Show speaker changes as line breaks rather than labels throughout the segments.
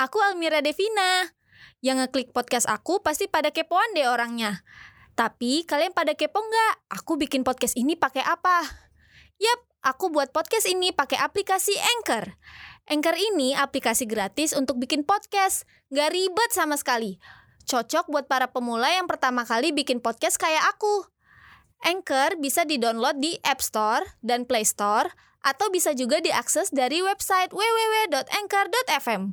Aku Almira Devina. Yang ngeklik podcast aku pasti pada kepoan deh orangnya. Tapi kalian pada kepo nggak? Aku bikin podcast ini pakai apa? Yap, aku buat podcast ini pakai aplikasi Anchor. Anchor ini aplikasi gratis untuk bikin podcast. Nggak ribet sama sekali. Cocok buat para pemula yang pertama kali bikin podcast kayak aku. Anchor bisa di-download di App Store dan Play Store atau bisa juga diakses dari website www.anchor.fm.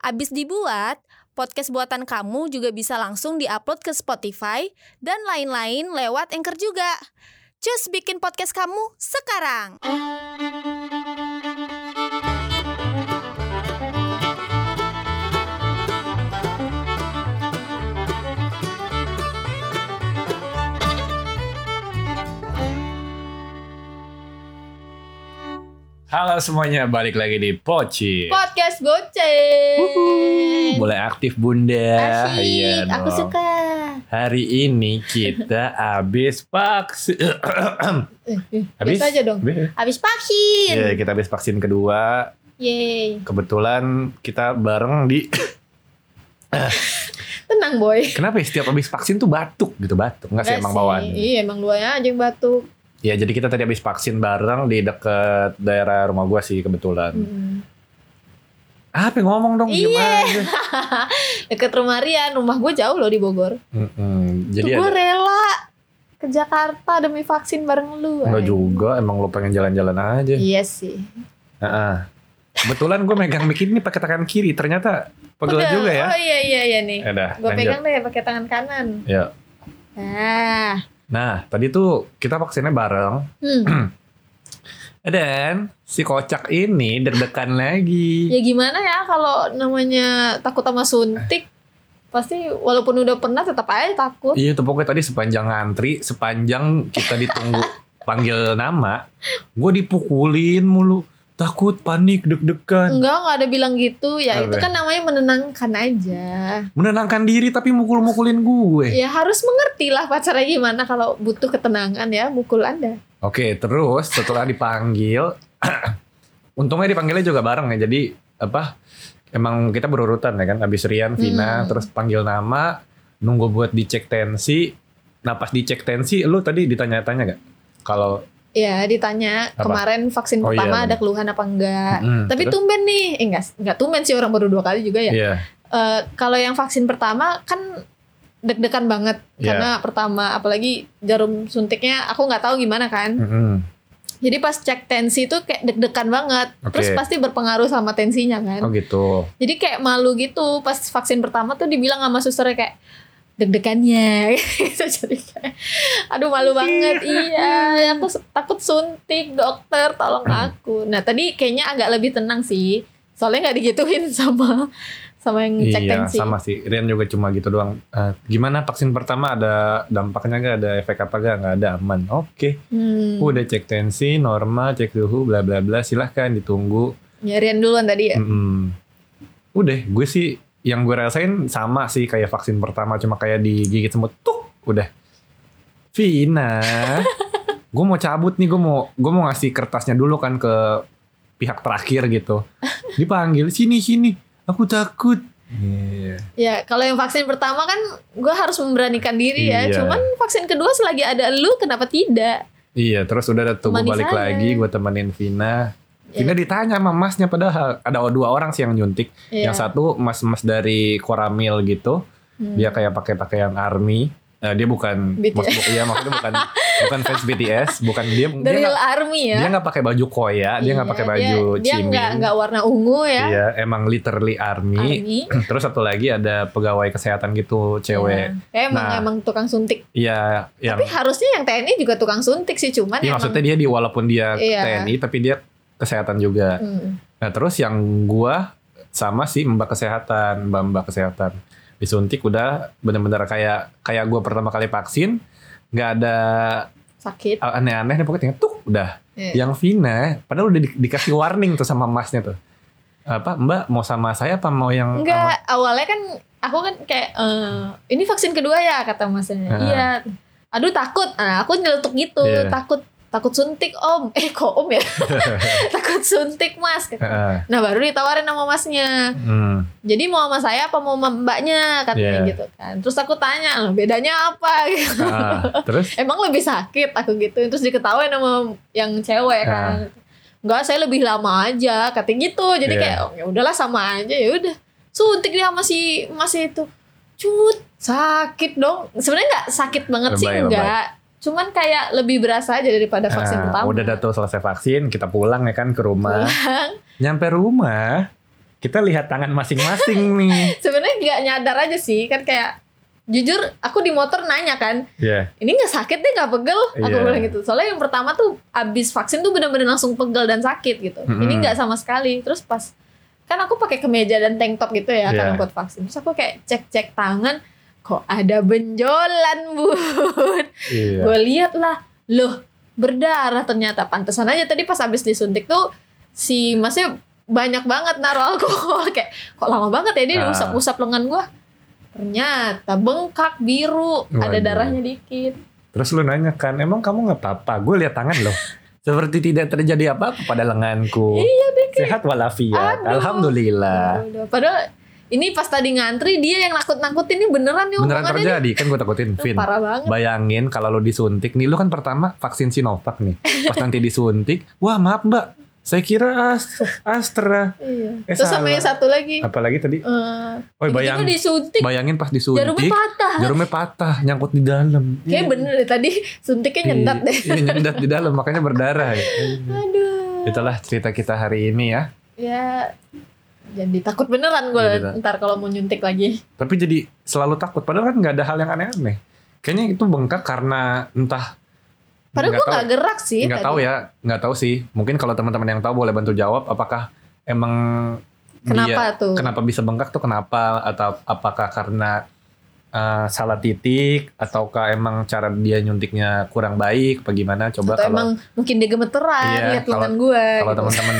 Abis dibuat, podcast buatan kamu juga bisa langsung diupload ke Spotify dan lain-lain lewat Anchor juga. Cus bikin podcast kamu sekarang.
Halo semuanya, balik lagi di Poci.
Podcast goceng.
Boleh aktif Bunda. Iya ya?
Asik, aku
dong.
suka.
Hari ini kita habis vaksin. habis
biasa Eh, aja dong.
Habis-
Abis vaksin.
Iya, kita habis vaksin kedua.
Yeay.
Kebetulan kita bareng di
Tenang, Boy.
Kenapa ya setiap habis vaksin tuh batuk gitu, batuk. Enggak sih emang bawaan.
Iya, emang duanya aja yang batuk.
Ya, jadi kita tadi habis vaksin bareng di deket daerah rumah gua sih kebetulan. Ah,
Mm.
Apa yang ngomong dong
Iya.
gimana?
Deket rumah Rian, rumah gue jauh loh di Bogor.
Mm-mm. Jadi
Tuh gue
ada
rela ke Jakarta demi vaksin bareng lu.
Enggak
Ay.
juga, emang lo pengen jalan-jalan aja.
Iya sih.
Heeh. Kebetulan gue megang mic ini pakai tangan kiri, ternyata pegel
Udah.
juga ya.
Oh iya iya iya nih.
Eh, dah,
Gue
lanjut.
pegang deh pakai tangan kanan.
Ya.
Nah,
Nah, tadi tuh kita vaksinnya bareng. Eh,
hmm.
Dan si kocak ini deg-degan lagi.
ya gimana ya kalau namanya takut sama suntik? Pasti walaupun udah pernah tetap aja takut.
Iya, tuh pokoknya tadi sepanjang ngantri, sepanjang kita ditunggu panggil nama, gue dipukulin mulu. Takut, panik, deg-degan.
Enggak, enggak ada bilang gitu. Ya itu
Apa?
kan namanya menenangkan aja.
Menenangkan diri tapi mukul-mukulin gue.
Ya harus mengerti lah pacarnya gimana kalau butuh ketenangan ya, mukul Anda.
Oke, terus setelah dipanggil, untungnya dipanggilnya juga bareng ya. Jadi apa? Emang kita berurutan ya kan. Abis Rian, Vina,
Hmm.
terus panggil nama, nunggu buat dicek tensi. Nah pas dicek tensi, lu tadi ditanya-tanya gak? Kalau
Ya ditanya
Apa?
kemarin vaksin
Oh, iya,
pertama
bener.
ada keluhan apa enggak?
Mm,
Ah, Tapi
terus?
tumben nih, eh, enggak, enggak tumben sih orang baru dua kali juga ya.
Iya.
Eh, kalau yang vaksin pertama kan deg-degan banget
Iya.
karena pertama apalagi jarum suntiknya aku nggak tahu gimana kan.
Mm-mm.
Jadi pas cek tensi itu kayak deg-degan banget.
Oke.
Terus pasti berpengaruh sama tensinya
Oh
kan.
gitu.
Jadi kayak malu gitu pas vaksin pertama tuh dibilang sama susternya kayak deg-degannya gitu jadi kayak aduh malu banget iya aku se- takut suntik dokter tolong
Hmm.
aku nah tadi kayaknya agak lebih tenang sih soalnya nggak digituin sama sama yang cek
iya,
tensi
sama sih. Rian juga cuma gitu doang. Eh, gimana vaksin pertama ada dampaknya gak? Ada efek apa gak? Gak ada aman. Oke.
Hmm.
Udah cek tensi, normal, cek suhu, bla bla bla. Silahkan ditunggu.
nyarian duluan tadi ya
Hmm. Mm-mm. Udah, gue sih yang gue rasain sama sih kayak vaksin pertama cuma kayak digigit semut tuk udah. Vina, gue mau cabut nih, gue mau gue mau ngasih kertasnya dulu kan ke pihak terakhir gitu. Dipanggil sini sini, aku takut. Iya.
ya kalau yang vaksin pertama kan gue harus memberanikan diri ya
Iya.
cuman vaksin kedua selagi ada lu kenapa tidak
Iya, terus udah tuh gue
Temani
balik
saya.
lagi, gue temenin Vina. Vina ditanya sama masnya padahal ada dua orang sih yang nyuntik.
Iya.
Yang satu mas-mas dari Koramil gitu.
Hmm.
dia kayak pakai pakaian army Eh, dia bukan
BTS.
maksud- bu- iya maksudnya bukan bukan fans BTS bukan dia
The
dia
real
nggak
army ya
dia nggak pakai baju koya dia nggak
Iya,
pakai
dia-
baju
dia
cimin
nggak nggak warna ungu ya
iya emang literally army.
Army.
terus satu lagi ada pegawai kesehatan gitu cewek
Iya. Kayak emang
Nah.
emang tukang suntik.
iya yang
Tapi harusnya yang TNI juga tukang suntik sih, cuman
iya,
emang.
maksudnya dia di walaupun dia
Iya.
TNI tapi dia kesehatan juga
Hmm.
nah terus yang gua sama sih mbak kesehatan mbak mbak kesehatan disuntik udah bener-bener kayak kayak gua pertama kali vaksin nggak ada
sakit.
aneh-aneh nih pokoknya tuk udah
Iya.
yang Vina padahal udah di- dikasih warning tuh sama masnya tuh apa mbak mau sama saya apa mau yang
Enggak, awalnya kan aku kan kayak eh, ini vaksin kedua ya kata masnya.
Ah.
Iya. Aduh takut. Nah, aku nyeletuk gitu,
Iya.
takut takut suntik om eh kok om ya takut suntik mas
Heeh.
nah baru ditawarin sama masnya
Hmm.
jadi mau sama saya apa mau sama mbaknya katanya
Yeah.
gitu kan terus aku tanya loh bedanya apa gitu.
Ah, terus
emang lebih sakit aku gitu terus diketawain sama yang cewek kan Enggak, saya lebih lama aja katanya gitu jadi
Ah. Iya.
kayak oh, ya udahlah sama aja ya udah suntik dia sama si mas itu cut sakit dong sebenarnya nggak sakit banget sih
Lebay,
enggak cuman kayak lebih berasa aja daripada
ah,
vaksin pertama Iya.
udah datu selesai vaksin, kita pulang ya kan ke rumah.
Pulang.
Nyampe rumah, kita lihat tangan masing-masing nih.
sebenarnya nggak nyadar aja sih kan kayak jujur aku di motor nanya kan
Ya.
ini nggak sakit deh nggak pegel aku
Iya.
bilang gitu soalnya yang pertama tuh abis vaksin tuh bener-bener langsung pegel dan sakit gitu
Mm-mm.
ini nggak sama sekali terus pas kan aku pakai kemeja dan tank top gitu ya karena
Iya.
buat vaksin terus aku kayak cek-cek tangan kok ada benjolan bun
Iya.
gue lihat lah loh berdarah ternyata pantesan aja tadi pas abis disuntik tuh si masnya banyak banget naruh alkohol kayak kok lama banget ya dia
Ah.
diusap-usap lengan gua ternyata bengkak biru ada
Waduh.
darahnya dikit
Terus lu nanya kan, emang kamu nggak apa-apa? Gue lihat tangan loh. Seperti tidak terjadi apa-apa pada lenganku.
Iya,
Sehat walafiat.
Aduh. Iya,
Alhamdulillah.
Udah, padahal ini pas tadi ngantri dia yang nakut-nakutin ini beneran nih
Beneran
omongannya nih.
terjadi kan gue takutin,
Aduh,
Vin.
parah banget
Bayangin kalau lu disuntik nih, lu kan pertama vaksin Sinovac nih. Pas nanti disuntik, wah maaf mbak, saya kira Ast- Astra.
iya.
Eh,
terus sama
salah.
yang satu lagi
Apalagi tadi,
eh,
oh
tiba-tiba
bayang,
disuntik
bayangin Iya. pas
jarumnya
disuntik,
patah
jarumnya patah, nyangkut di dalam.
kayak bener deh tadi suntiknya nyendat deh
Iya, nyendat di dalam, makanya berdarah ya.
aduh
Itulah cerita kita hari ini ya.
ya jadi takut beneran gue
Jadi tak-
ntar kalau mau nyuntik lagi
Tapi jadi selalu takut. Padahal kan nggak ada hal yang aneh-aneh. Kayaknya itu bengkak karena entah. nggak
padahal gue
tahu-
Iya, nggak gerak sih
nggak tahu ya, nggak tahu sih. Mungkin kalau teman-teman yang tahu boleh bantu jawab. Apakah emang
kenapa
dia-
tuh
Iya. kenapa bisa bengkak tuh kenapa? Atau apakah karena eh, salah titik? Ataukah emang cara dia nyuntiknya kurang baik? Apa gimana? Coba
atau
kalau
emang mungkin dia gemeteran
Iya,
lihat
kalau-
lengan gue
kalau teman-teman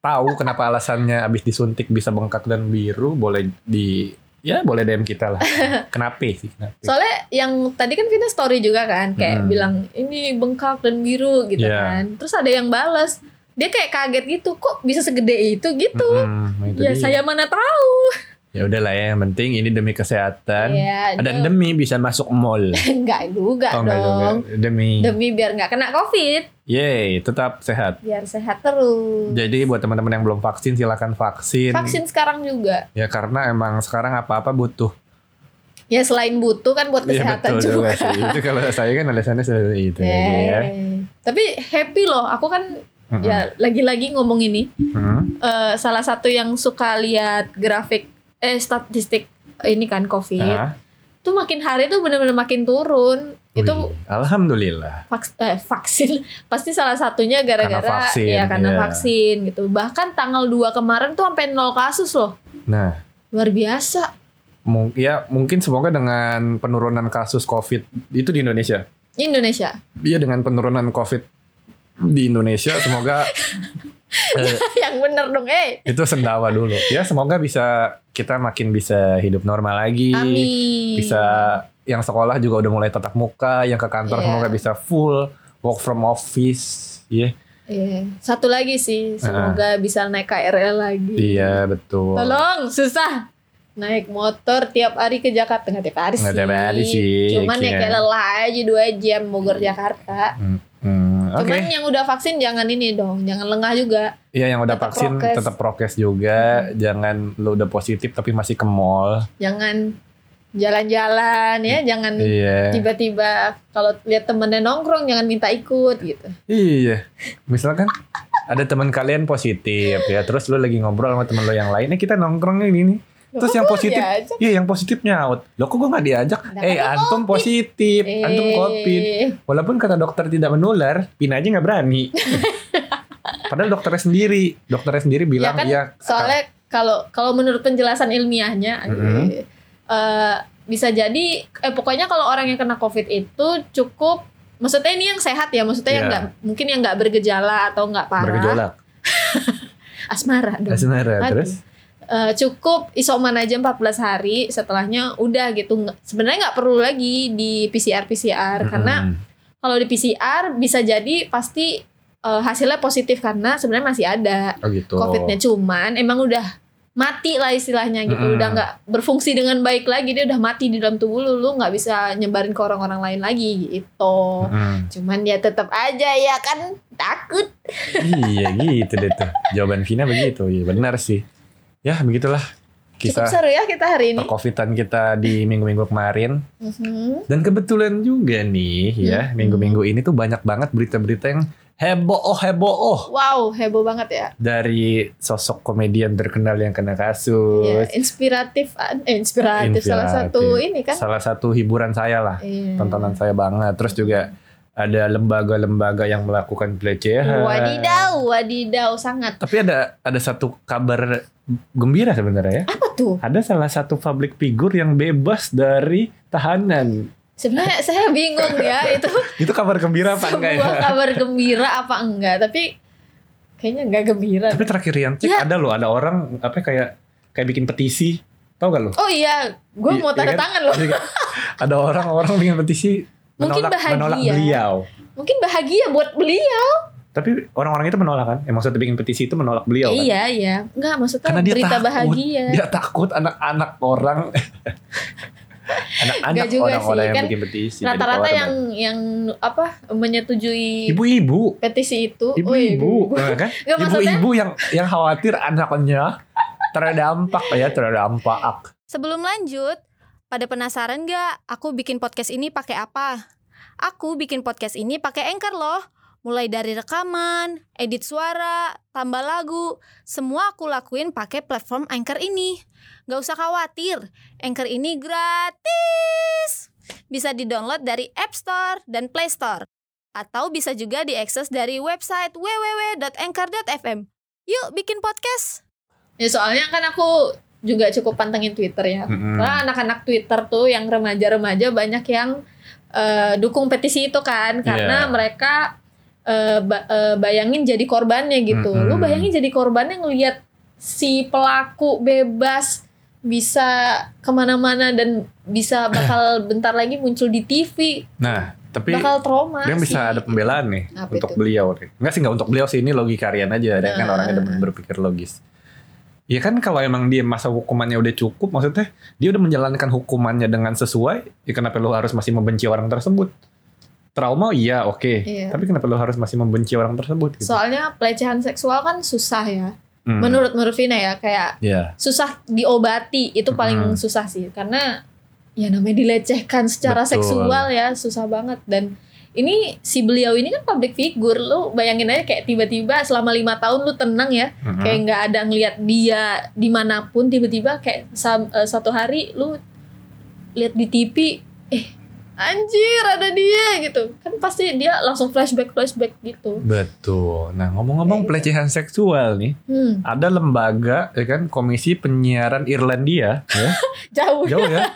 tahu kenapa alasannya abis disuntik bisa bengkak dan biru, boleh di ya boleh DM kita lah. Kenapa sih? Kenapa?
Gitu. soalnya yang tadi kan kita story juga kan kayak
Hmm.
bilang ini bengkak dan biru gitu
Iya.
kan terus ada yang balas dia kayak kaget gitu kok bisa segede itu gitu
Mm-mm, itu dia.
ya saya mana tahu
Ya udah lah ya, yang penting ini demi kesehatan.
ya
Dan demi bisa masuk mall.
enggak juga
Oh, enggak, Hmm. enggak,
dong
enggak. Demi.
demi biar nggak kena covid
Yeay, tetap sehat.
biar sehat terus
Jadi buat teman-teman yang belum vaksin silakan vaksin.
vaksin sekarang juga
Ya karena emang sekarang apa-apa butuh.
Ya selain butuh kan buat
Iya
kesehatan
betul juga
juga.
sih. Itu kalau saya kan alasannya seperti itu
Ya.
ya. Hmm.
Tapi happy loh, aku kan
Mm-mm.
ya lagi-lagi ngomong ini.
Mm.
Eh, salah satu yang suka lihat grafik eh statistik ini kan COVID.
Ah.
Tuh makin hari tuh bener-bener makin turun.
Wih,
Itu
alhamdulillah.
vaks- eh, vaksin pasti salah satunya gara-gara
iya. Karena vaksin,
ya karena
iya.
vaksin gitu. Bahkan tanggal 2 kemarin tuh sampai nol kasus loh.
Nah,
Luar biasa.
mung- ya mungkin semoga dengan penurunan kasus COVID itu di Indonesia.
Indonesia.
Iya dengan penurunan COVID di Indonesia semoga eh,
yang bener dong, eh.
itu sendawa dulu. Ya semoga bisa kita makin bisa hidup normal lagi.
Amin.
Bisa yang sekolah juga udah mulai tatap muka, yang ke kantor
Iya.
semoga bisa full work from office. Iya,
Iya. Satu lagi sih, semoga bisa naik KRL lagi.
iya betul.
Tolong, susah. Naik motor tiap hari ke Jakarta nggak tiap hari
Nggak
sih.
tiap hari sih,
Cuman ya
iya.
kayak lelah aja dua jam Bogor Jakarta.
Hmm, Oke,
Cuman yang udah vaksin jangan ini dong, jangan lengah juga.
iya yang udah
tetap
vaksin
prokes. Hmm.
tetap prokes juga. Jangan lu udah positif tapi masih ke mall.
Jangan jalan-jalan ya, jangan
Iya.
tiba-tiba kalau lihat temennya nongkrong jangan minta ikut gitu.
Iya. Misalkan ada teman kalian positif ya, terus lu lagi ngobrol sama teman lo yang lain, eh kita nongkrong ini nih. Terus
Loh,
yang
kok
positif,
gua diajak?
Iya, yang positif nyaut. Lo kok gue nggak diajak?
Nah,
eh,
kan
antum positif, antum
Eh,
covid. Walaupun kata dokter tidak menular, Pina aja nggak berani. Padahal dokternya sendiri, dokternya sendiri bilang
Ya kan,
iya.
soalnya kalau kalau menurut penjelasan ilmiahnya
Mm-mm.
eh, eh, bisa jadi eh pokoknya kalau orang yang kena covid itu cukup maksudnya ini yang sehat ya maksudnya yang
Iya.
nggak mungkin yang nggak bergejala atau nggak
ah,
parah
bergejolak.
asmara dong
Asmara,
Aduh.
terus
Eh, cukup isoman aja 14 hari setelahnya udah gitu Nggak- sebenarnya nggak perlu lagi di PCR PCR karena
Mm-mm.
Kalau di PCR bisa jadi pasti eh, hasilnya positif karena sebenarnya masih ada
Oh gitu.
COVID-nya cuman emang udah mati lah istilahnya gitu
Mm-mm.
udah nggak berfungsi dengan baik lagi dia udah mati di dalam tubuh lu lu nggak bisa nyebarin ke orang-orang lain lagi gitu
Mm-mm.
cuman ya tetap aja ya kan takut
iya gitu deh tuh. Jawaban Vina begitu. Iya benar sih. Ya begitulah kisah
cukup seru ya kita hari ini
perkovitan kita di minggu-minggu kemarin.
Mhm.
Dan kebetulan juga nih ya
Hmm.
minggu-minggu ini tuh banyak banget berita-berita yang heboh oh heboh oh
wow heboh banget ya
dari sosok komedian terkenal yang kena
Ya,
kasus.
inspiratif eh, inspiratif salah
Inspiratif.
satu ini kan
Salah satu hiburan saya lah,
Iya.
tontonan saya banget. Terus juga ada lembaga-lembaga yang melakukan pelecehan.
Wadidaw, wadidaw sangat.
Tapi ada ada satu kabar gembira sebenarnya ya.
Apa tuh?
Ada salah satu public figure yang bebas dari tahanan.
Sebenarnya saya bingung ya itu
Itu kabar gembira apa enggak ya?
sebuah kabar gembira apa enggak? Tapi kayaknya enggak gembira.
Tapi terakhir yang cek
Ya.
ada loh, ada orang apa kayak kayak bikin petisi, tau gak lo?
Oh iya, gue
Iya,
mau
iya
tanda
kan?
tangan loh.
ada orang-orang bikin petisi menolak
Mungkin bahagia.
menolak beliau.
Mungkin bahagia buat ya? beliau.
Tapi orang-orang itu menolak kan? Eh, maksudnya bikin petisi itu menolak beliau kan?
Iya iya, enggak maksudnya
Karena dia
berita
takut.
bahagia.
Dia takut anak-anak orang anak-anak
Nggak juga
orang-orang
sih,
yang
kan
bikin petisi. jadi
Rata-rata
tawaran.
yang yang apa menyetujui
ibu-ibu,
petisi itu. Wih,
ibu-ibu, nah, kan?
Oh, Nggak, maksudnya-
Ibu-ibu yang yang khawatir anaknya terdampak ya,
Ah.
terdampak.
Sebelum lanjut, pada penasaran gak aku bikin podcast ini pakai apa? Aku bikin podcast ini pakai Anchor loh. Mulai dari rekaman, edit suara, tambah lagu, semua aku lakuin pakai platform Anchor ini. Gak usah khawatir, Anchor ini gratis. Bisa di-download dari App Store dan Play Store. Atau bisa juga diakses dari website www.anchor.fm. Yuk bikin podcast! Ya soalnya kan aku juga cukup pantengin Twitter ya.
Mm-mm.
Karena anak-anak Twitter tuh yang remaja-remaja banyak yang eh, dukung petisi itu kan karena
Iya.
mereka eh, ba- eh, bayangin jadi korbannya gitu. Lu
Mm-mm.
bayangin jadi korbannya ngelihat si pelaku bebas bisa kemana-mana dan bisa bakal bentar lagi muncul di TV,
Nah, tapi
bakal trauma.
dia bisa
sih.
ada pembelaan nih
Apa
untuk
itu?
beliau nih. Enggak sih enggak untuk beliau sih ini logika Rian aja Rian kan
Nah.
orangnya demen berpikir logis Ya kan kalau emang dia masa hukumannya udah cukup maksudnya dia udah menjalankan hukumannya dengan sesuai ya kenapa lu harus masih membenci orang tersebut trauma iya oke
Iya.
tapi kenapa lu harus masih membenci orang tersebut gitu
Soalnya pelecehan seksual kan susah ya.
Hmm.
Menurut menurut Vina ya kayak
Iya,
susah diobati itu paling
Mm-mm.
susah sih karena ya namanya dilecehkan secara
Betul.
seksual ya susah banget dan ini si beliau ini kan public figure lu bayangin aja kayak tiba-tiba selama lima tahun lu tenang ya
Mm-mm.
kayak nggak ada ngelihat dia dimanapun tiba-tiba kayak sam- eh, satu hari lu lihat di TV eh anjir ada dia gitu kan pasti dia langsung flashback flashback gitu
betul. Nah ngomong-ngomong
Kayak
pelecehan seksual nih,
hmm,
ada lembaga ya kan Komisi Penyiaran Irlandia ya,
jauh
jauh ya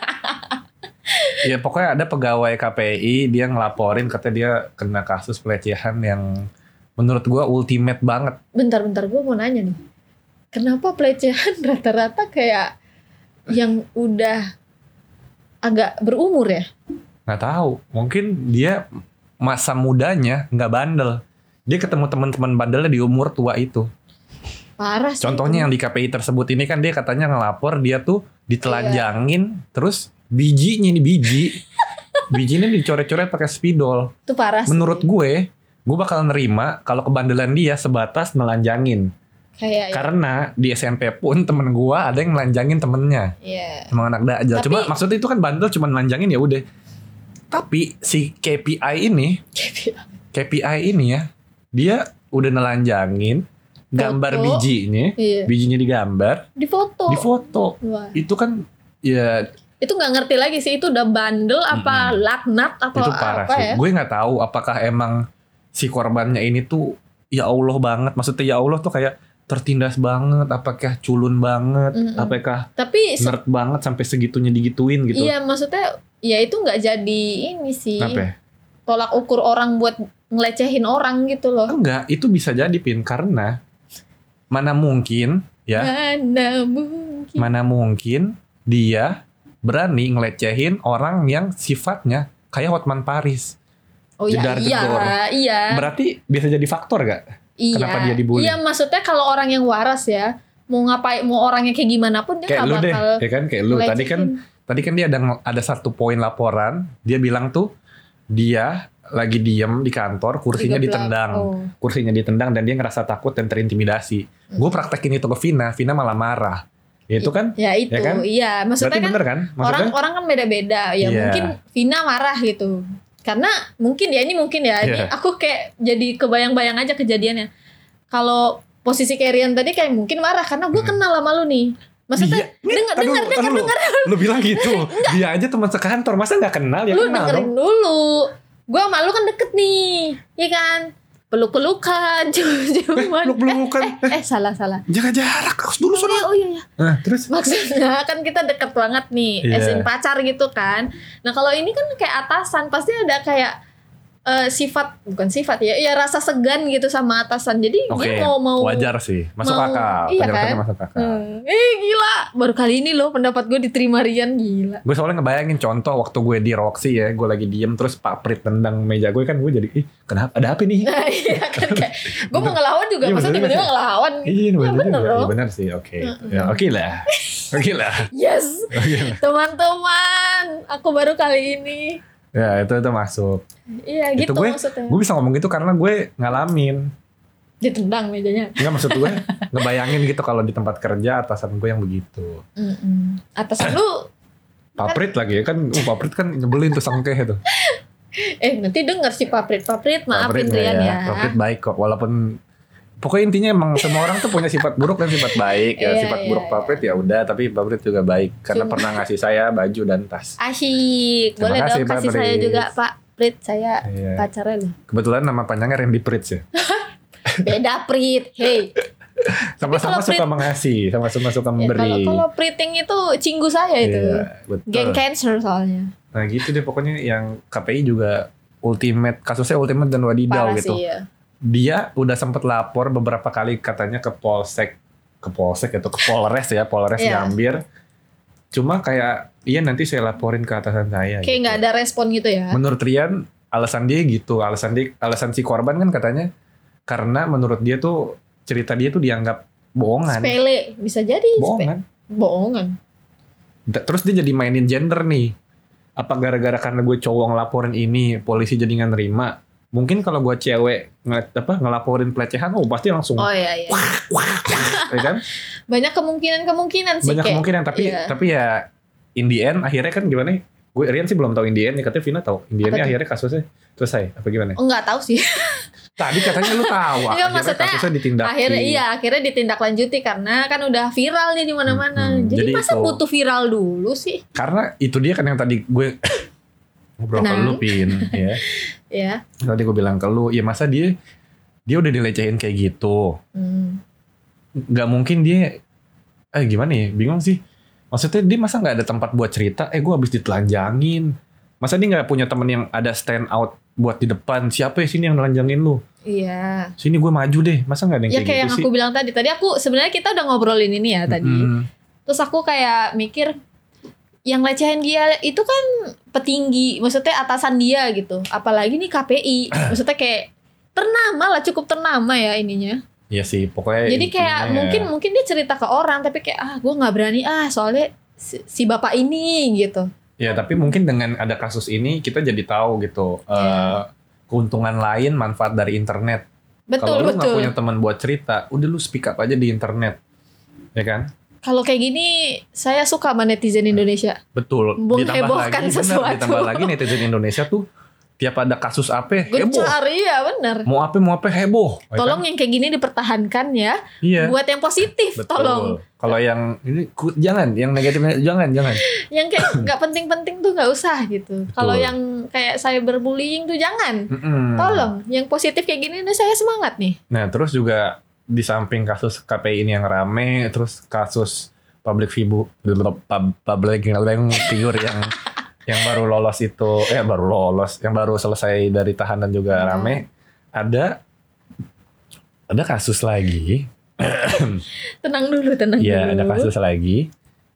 ya pokoknya ada pegawai KPI dia ngelaporin katanya dia kena kasus pelecehan yang menurut gua ultimate banget
bentar-bentar gue mau nanya nih kenapa pelecehan rata-rata kayak yang udah agak berumur ya
nggak tahu mungkin dia masa mudanya nggak bandel dia ketemu teman-teman bandelnya di umur tua itu
parah sih
contohnya yang di KPI tersebut ini kan dia katanya ngelapor dia tuh ditelanjangin terus bijinya nih biji bijinya dicoret-coret pakai spidol
itu parah sih.
menurut gue gue bakal nerima kalau kebandelan dia sebatas nelanjangin
kayak ya,
karena di SMP pun temen gue ada yang nelanjangin temennya
ya
emang anak dajal
Tapi-
cuma maksudnya itu kan bandel cuma nelanjangin ya udah tapi si KPI ini KPI ini ya dia udah nelanjangin gambar
Foto.
bijinya
iya
bijinya digambar
di foto
di foto
Wah.
itu kan ya
itu nggak ngerti lagi sih itu udah bandel apa
Mm-mm.
laknat atau
itu parah
apa
sih.
ya
Gue nggak tahu apakah emang si korbannya ini tuh ya Allah banget. Maksudnya ya Allah tuh kayak tertindas banget, apakah culun banget,
Mm-mm.
apakah
tapi se-
nerd banget sampai segitunya digituin ya? gitu.
iya maksudnya ya itu nggak jadi ini sih
Kenapa ya?
tolak ukur orang buat ngelecehin orang gitu loh
Enggak, itu bisa jadi pin karena mana mungkin ya,
mana mungkin
mana mungkin dia berani ngelecehin orang yang sifatnya kayak Hotman Paris.
Oh iya,
Jedar gitu
iya,
jedor.
iya.
Berarti bisa jadi faktor gak?
iya.
kenapa dia dibully?
Iya, maksudnya kalau orang yang waras ya, mau ngapain, mau orangnya kayak gimana pun dia
Kayak
nggak
lu deh,
bakal
ya kan? Kayak lu tadi
ngelecehin.
kan tadi kan dia ada ada satu poin laporan, dia bilang tuh dia lagi diem di kantor, kursinya
Digeblak.
ditendang,
Oh.
kursinya ditendang dan dia ngerasa takut dan terintimidasi.
Hmm.
Gue praktekin itu ke Vina, Vina malah marah. Ya Itu kan?
Ya itu,
Ya kan?
iya. Maksudnya
berarti
kan
bener kan? Maksudnya?
orang orang kan beda-beda.
Iya.
Ya mungkin Vina marah gitu. Karena mungkin ya ini mungkin ya.
Iya.
Ini aku kayak jadi kebayang-bayang aja kejadiannya. Kalau posisi Kerian tadi kayak mungkin marah karena gue
Hmm.
kenal sama lu nih. Maksudnya dengar
Iya. Aduh,
dengar dengar
aduh, lu- Lu bilang gitu, dia aja teman sekantor, masa nggak kenal ya
lu
kenal
dengerin
dong.
dulu. Gue sama lu kan deket nih, ya kan? Peluk-pelukan, cium-ciuman.
peluk pelukan
Eh, eh, salah salah.
kan? Jaga jarak, harus dulu
Oh
sana.
iya, oh iya, iya.
Nah, terus
maksudnya kan kita deket banget nih
Iya.
as in pacar gitu kan nah kalau ini kan kayak atasan pasti ada kayak eh, sifat bukan sifat ya ya rasa segan gitu sama atasan jadi
Oke,
dia mau mau
wajar sih, masuk
mau-
akal,
iya
penjelasannya
kan?
masuk akal.
Hmm, eh gila baru kali ini loh pendapat gue diterima Rian gila
Gue soalnya ngebayangin contoh waktu gue di Roxy ya, gue lagi diem terus Pak Prit tendang meja gue kan gue jadi, ih kenapa ada apa nih?
nah iya kan kayak gue mau ngelawan juga
Iya,
masa
bener
tiba-tiba
kan?
ngelawan
Iya
Ya,
bener,
bener
juga.
dong. Hmm,
Iya, bener sih, oke, ya oke lah, oke lah.
yes
Oke lah.
teman-teman aku baru kali ini
Ya itu itu masuk.
iya
Itu
gitu
gue-
maksudnya
Gue bisa ngomong gitu karena gue ngalamin.
ditendang mejanya
Enggak Iya, maksud gue ngebayangin gitu kalau di tempat kerja atasan gue yang begitu.
Mm-mm. atasan lu
Pak Prit lagi ya kan, uh, Pak Prit kan nyebelin tuh sangkeh itu.
Eh nanti denger si paprit paprit
Favorit
maafin Rian
nggak
ya.
Favorit baik kok walaupun pokoknya intinya emang semua orang tuh punya sifat buruk dan sifat baik ya.
Iya,
sifat
iya,
buruk
iya.
favorit ya udah tapi favorit juga baik karena
Cuma-
pernah ngasih saya baju dan tas.
Asyik,
Terima
boleh
kasih,
dong kasih
Paprit.
saya juga Pak Prit saya
Iya.
pacarnya loh.
Kebetulan nama panjangnya Randy Pritz ya.
Beda Prit. Hey,
Sama-sama
kalau Prit-
suka mengasih, sama-sama suka
Ya, kalau
memberi.
kalau Priting itu cinggu saya itu.
Iya, betul.
Geng cancer soalnya.
Nah gitu deh pokoknya yang KPI juga ultimate kasusnya ultimate dan wadidaw
Parah
gitu.
sih ya.
dia udah sempet lapor beberapa kali katanya ke polsek ke polsek itu ke polres ya polres
Iya.
Gambir cuma kayak iya nanti saya laporin ke atasan saya
Kayak nggak ada respon gitu ya.
menurut Rian alasan dia gitu alasan dia alasan si korban kan katanya karena menurut dia tuh cerita dia tuh dianggap bohongan
Sepele bisa jadi. sepe-
bohongan
Bohongan.
Da- terus dia jadi mainin gender nih apa gara-gara karena gue cowok ngelaporin ini polisi jadi nggak nerima mungkin kalau gue cewek nge- apa ngelaporin pelecehan oh pasti langsung
Oh iya iya.
ya kan
Banyak kemungkinan-kemungkinan sih
banyak
kayak.
kemungkinan tapi
iya.
tapi ya in the end akhirnya kan gimana gue Rian sih belum tahu in the end ya katanya Vina tahu in the
Apa
end
tuh?
akhirnya kasusnya selesai apa gimana
Oh, nggak tahu sih.
tadi katanya lu tahu akhirnya
maksudnya
kasusnya ditindaki
akhirnya iya akhirnya ditindaklanjuti karena kan udah viral nih di mana-mana.
Mm-mm.
Jadi,
Jadi
masa
itu-
butuh viral dulu sih?
karena itu dia kan yang tadi gue ngobrol ke
Tenang.
lu pin ya
Ya.
tadi gue bilang ke lu ya masa dia dia udah dilecehin kayak gitu
Hmm.
nggak mungkin dia eh gimana ya bingung sih maksudnya dia masa nggak ada tempat buat cerita eh gue habis ditelanjangin masa dia nggak punya temen yang ada stand out buat di depan siapa ya sini yang nelanjangin lu
Iya.
sini gue maju deh masa nggak ada yang
Ya
kayak,
kayak yang
gitu
aku
sih
bilang tadi. Tadi aku sebenarnya kita udah ngobrolin ini ya tadi.
Mm-mm.
Terus aku kayak mikir yang lecehin dia itu kan petinggi, maksudnya atasan dia gitu. Apalagi nih KPI, maksudnya kayak ternama lah, cukup ternama ya ininya.
Iya sih pokoknya
Jadi kayak
intinya ya,
mungkin mungkin dia cerita ke orang tapi kayak ah gue nggak berani ah soalnya si, si bapak ini gitu.
ya tapi mungkin dengan ada kasus ini kita jadi tahu gitu eh,
Iya.
keuntungan lain manfaat dari internet
Betul
kalau lu nggak
betul.
punya teman buat cerita udah lu speak up aja di internet ya kan
Kalau kayak gini saya suka sama netizen Indonesia.
Betul. ditambah lagi,
Menghebohkan
benar,
sesuatu.
ditambah lagi netizen Indonesia tuh tiap ada kasus apa heboh.
Gencar iya bener.
Mau apa mau apa heboh. Ya kan?
Tolong yang kayak gini dipertahankan ya.
Iya.
buat yang positif
Betul.
tolong
Kalau yang ini ku- jangan, yang negatifnya jangan, jangan.
yang kayak nggak penting-penting tuh nggak usah gitu
Betul. Hmm.
kalau yang kayak cyberbullying tuh jangan
Mm-mm.
tolong yang positif kayak gini nih saya semangat nih
Nah, terus juga di samping kasus KPI ini yang rame, terus kasus public fibu pub- public figure yang yang baru lolos itu eh baru lolos, yang baru selesai dari tahanan juga
Hmm.
rame. Ada ada kasus lagi
tenang dulu tenang
Iya
dulu
ada kasus lagi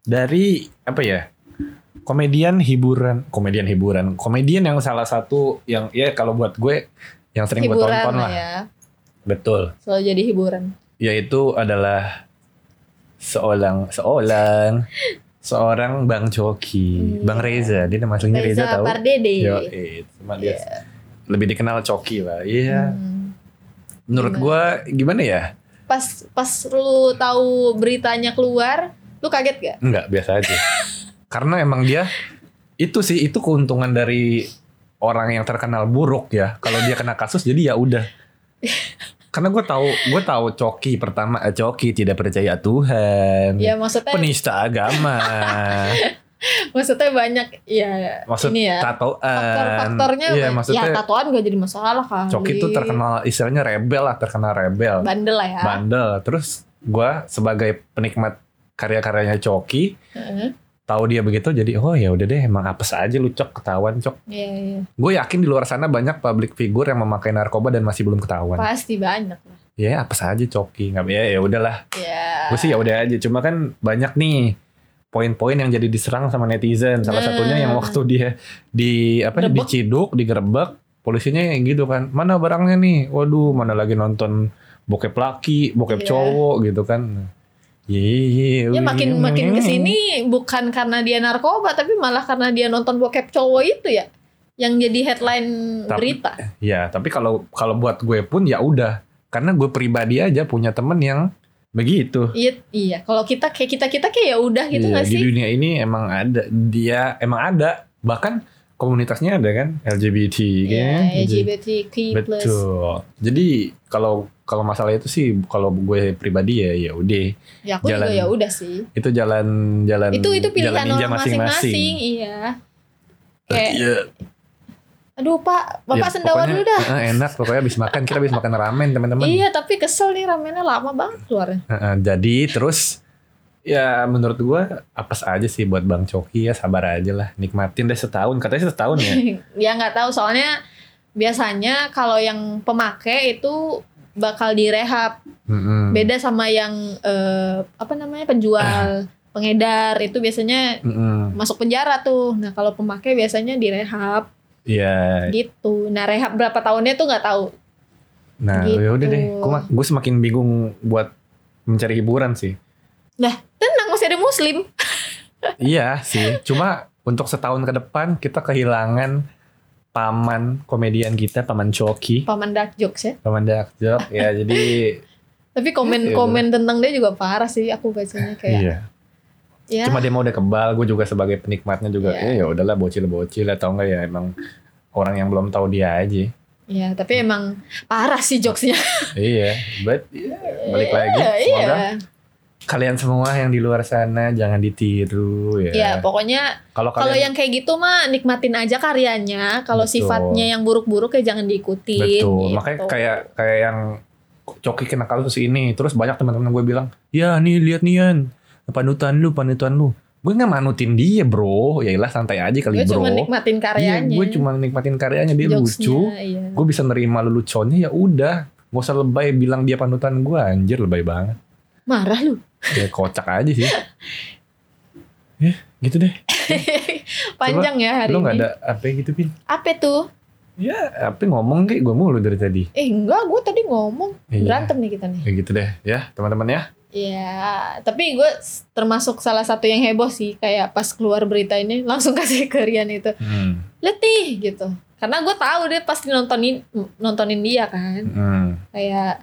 dari apa ya komedian hiburan, komedian hiburan, komedian yang salah satu yang ya kalau buat gue yang sering gue
hiburan
tonton
lah
lah.
ya.
Betul.
Selalu jadi hiburan.
yaitu adalah seorang seorang seorang Bang Coki,
Hmm.
Bang Reza. Dia nama aslinya Reza, tahu?
Pardede.
Yo, eh, cuma dia
Iya.
lebih dikenal Coki lah. Iya.
Hmm.
Menurut
Gimana?
gua gimana ya?
Pas pas lu tahu beritanya keluar, lu kaget gak?
Enggak, biasa aja. Karena emang dia itu sih itu keuntungan dari orang yang terkenal buruk ya. Kalau dia kena kasus jadi ya udah. Karena gue tahu gue tahu Coki pertama eh, Coki tidak percaya Tuhan.
Ya maksudnya
Penista agama.
maksudnya banyak ya
maksud
ini ya.
tatoan
Faktor-faktornya
iya
banyak.
maksudnya
ya tatoan gak jadi masalah kan.
coki itu terkenal istilahnya rebel lah terkenal rebel
bandel lah ya.
bandel terus gua sebagai penikmat karya-karyanya coki
Heeh.
tahu dia begitu jadi oh ya udah deh emang apa saja lu cok ketahuan cok
Iya, iya.
gue yakin di luar sana banyak public figure yang memakai narkoba dan masih belum ketahuan
Pasti banyak lah.
ya apa saja coki nggak ya ya udahlah
Ya.
gue sih ya udah aja cuma kan banyak nih poin-poin yang jadi diserang sama netizen salah
Nah.
satunya yang waktu dia di apa
Grebek.
diciduk digerebek polisinya yang gitu kan mana barangnya nih waduh mana lagi nonton bokep laki bokep
Iya.
cowok gitu kan Iya,
Ya makin makin kesini bukan karena dia narkoba tapi malah karena dia nonton bokep cowok itu ya yang jadi headline
Tapi-
berita.
Ya, tapi kalau kalau buat gue pun ya udah, karena gue pribadi aja punya temen yang begitu.
Iya, iya. Kalau kita kayak kita kita kayak ya udah gitu
Iya,
nggak
di
sih?
dunia ini emang ada dia emang ada bahkan komunitasnya ada kan LGBT kan.
Ya, LGBTQ+.
Betul. Jadi kalau kalau masalah itu sih kalau gue pribadi ya ya udah
Ya aku
Jalan.
juga ya udah sih.
itu jalan jalan
Itu itu pilihan
ninja
orang masing-masing, iya. Kayak,
Iya,
aduh Pak, Bapak
ya,
sendawa
pokoknya,
dulu dah.
eh, enak pokoknya habis makan kita habis makan ramen teman-teman.
Iya, tapi kesel nih ramennya lama banget keluarnya.
Eh, eh, jadi terus ya menurut gue apa aja sih buat Bang Coki ya sabar aja lah nikmatin deh setahun katanya setahun ya.
ya nggak tahu soalnya biasanya kalau yang pemakai itu bakal direhab
Hmm. Mm-mm.
beda sama yang eh, apa namanya
Eh.
penjual pengedar itu biasanya
Mm-mm.
masuk penjara tuh nah kalau pemakai biasanya direhab
Iya.
gitu nah rehab berapa tahunnya tuh nggak tahu
Nah
Gitu.
ya udah deh. Gue gue semakin bingung buat mencari hiburan sih.
tenang masih ada muslim
Iya sih, cuma untuk setahun ke depan kita kehilangan paman komedian kita, paman Coki,
paman dark jokes ya
paman Dakjok. Ya jadi
tapi komen
Iya.
komen tentang dia juga parah sih aku bacanya kayak
iya.
ya
Cuma dia mau udah kebal, gue juga sebagai penikmatnya juga.
Iya.
Eh ya udahlah bocil-bocil atau enggak ya emang orang yang belum tahu dia aja.
ya tapi emang parah sih jokesnya
iya, but iya, balik lagi.
Iya,
Semoga
iya
kalian semua yang di luar sana jangan ditiru ya.
ya pokoknya
Kalau
kalau
kalian
yang kayak gitu mah nikmatin aja karyanya kalau
Betul.
sifatnya yang buruk-buruk ya jangan diikutin
Betul.
gitu.
Makanya kayak kayak yang Coki kena kasus ini, terus banyak teman-teman gue bilang, ya nih lihat nih Yan, panutan lu, panutan lu. Gue nggak manutin dia bro, ya ilah santai aja kali
gue
bro.
cuma nikmatin
Iya,
karyanya
gue cuma nikmatin karyanya dia
Jokes-nya,
lucu.
iya.
Gue bisa nerima lu lucunya ya udah. Gak usah lebay bilang dia panutan gue, anjir lebay banget.
marah lu
Ya kocak aja sih. Ya gitu deh.
panjang ya hari
lu
ini
nggak ada apa gitu pin?
apa tuh
Ya, apa ngomong kayak gue mulu dari tadi.
eh enggak gue tadi ngomong
Iya.
berantem nih kita nih
Ya gitu deh, ya teman-teman ya.
ya tapi gue s- termasuk salah satu yang heboh sih kayak pas keluar berita ini langsung kasih ke Rian itu
Hmm.
letih gitu karena gue tahu dia pasti nontonin nontonin dia kan
Hmm.
kayak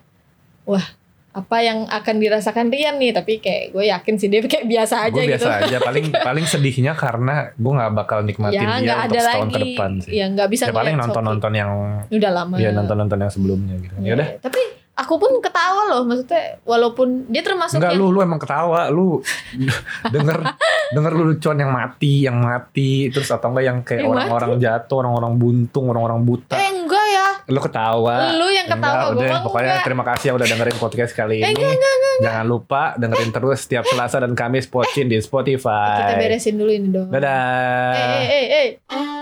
wah apa yang akan dirasakan Rian nih tapi kayak gue yakin sih dia kayak biasa aja
gue
gitu
biasa aja paling paling sedihnya karena gue nggak bakal nikmatin
ya
dia
nggak
untuk
ada
setahun ke
lagi
depan sih
ya nggak bisa
ya paling
ngeliat
nonton nonton yang
Shopee. udah lama
ya nonton nonton yang sebelumnya gitu ya udah
Iya, Tapi aku pun ketawa loh, maksudnya walaupun dia termasuk
Enggak
yang
lu lu emang ketawa lu denger denger lu lucuan yang mati yang mati terus atau enggak yang kayak
Yang
orang-orang jatuh orang-orang buntung orang-orang buta
eh enggak ya,
lu ketawa Ya
lu yang ketawa
Ah, udah
gue mah
pokoknya
enggak.
terima kasih yang udah dengerin podcast kali
Eh,
ini
enggak, enggak, enggak.
jangan lupa dengerin terus setiap Selasa dan Kamis pocin di
Kita
Spotify
beresin dulu ini dong. Eh,
dadah
eh, eh, eh.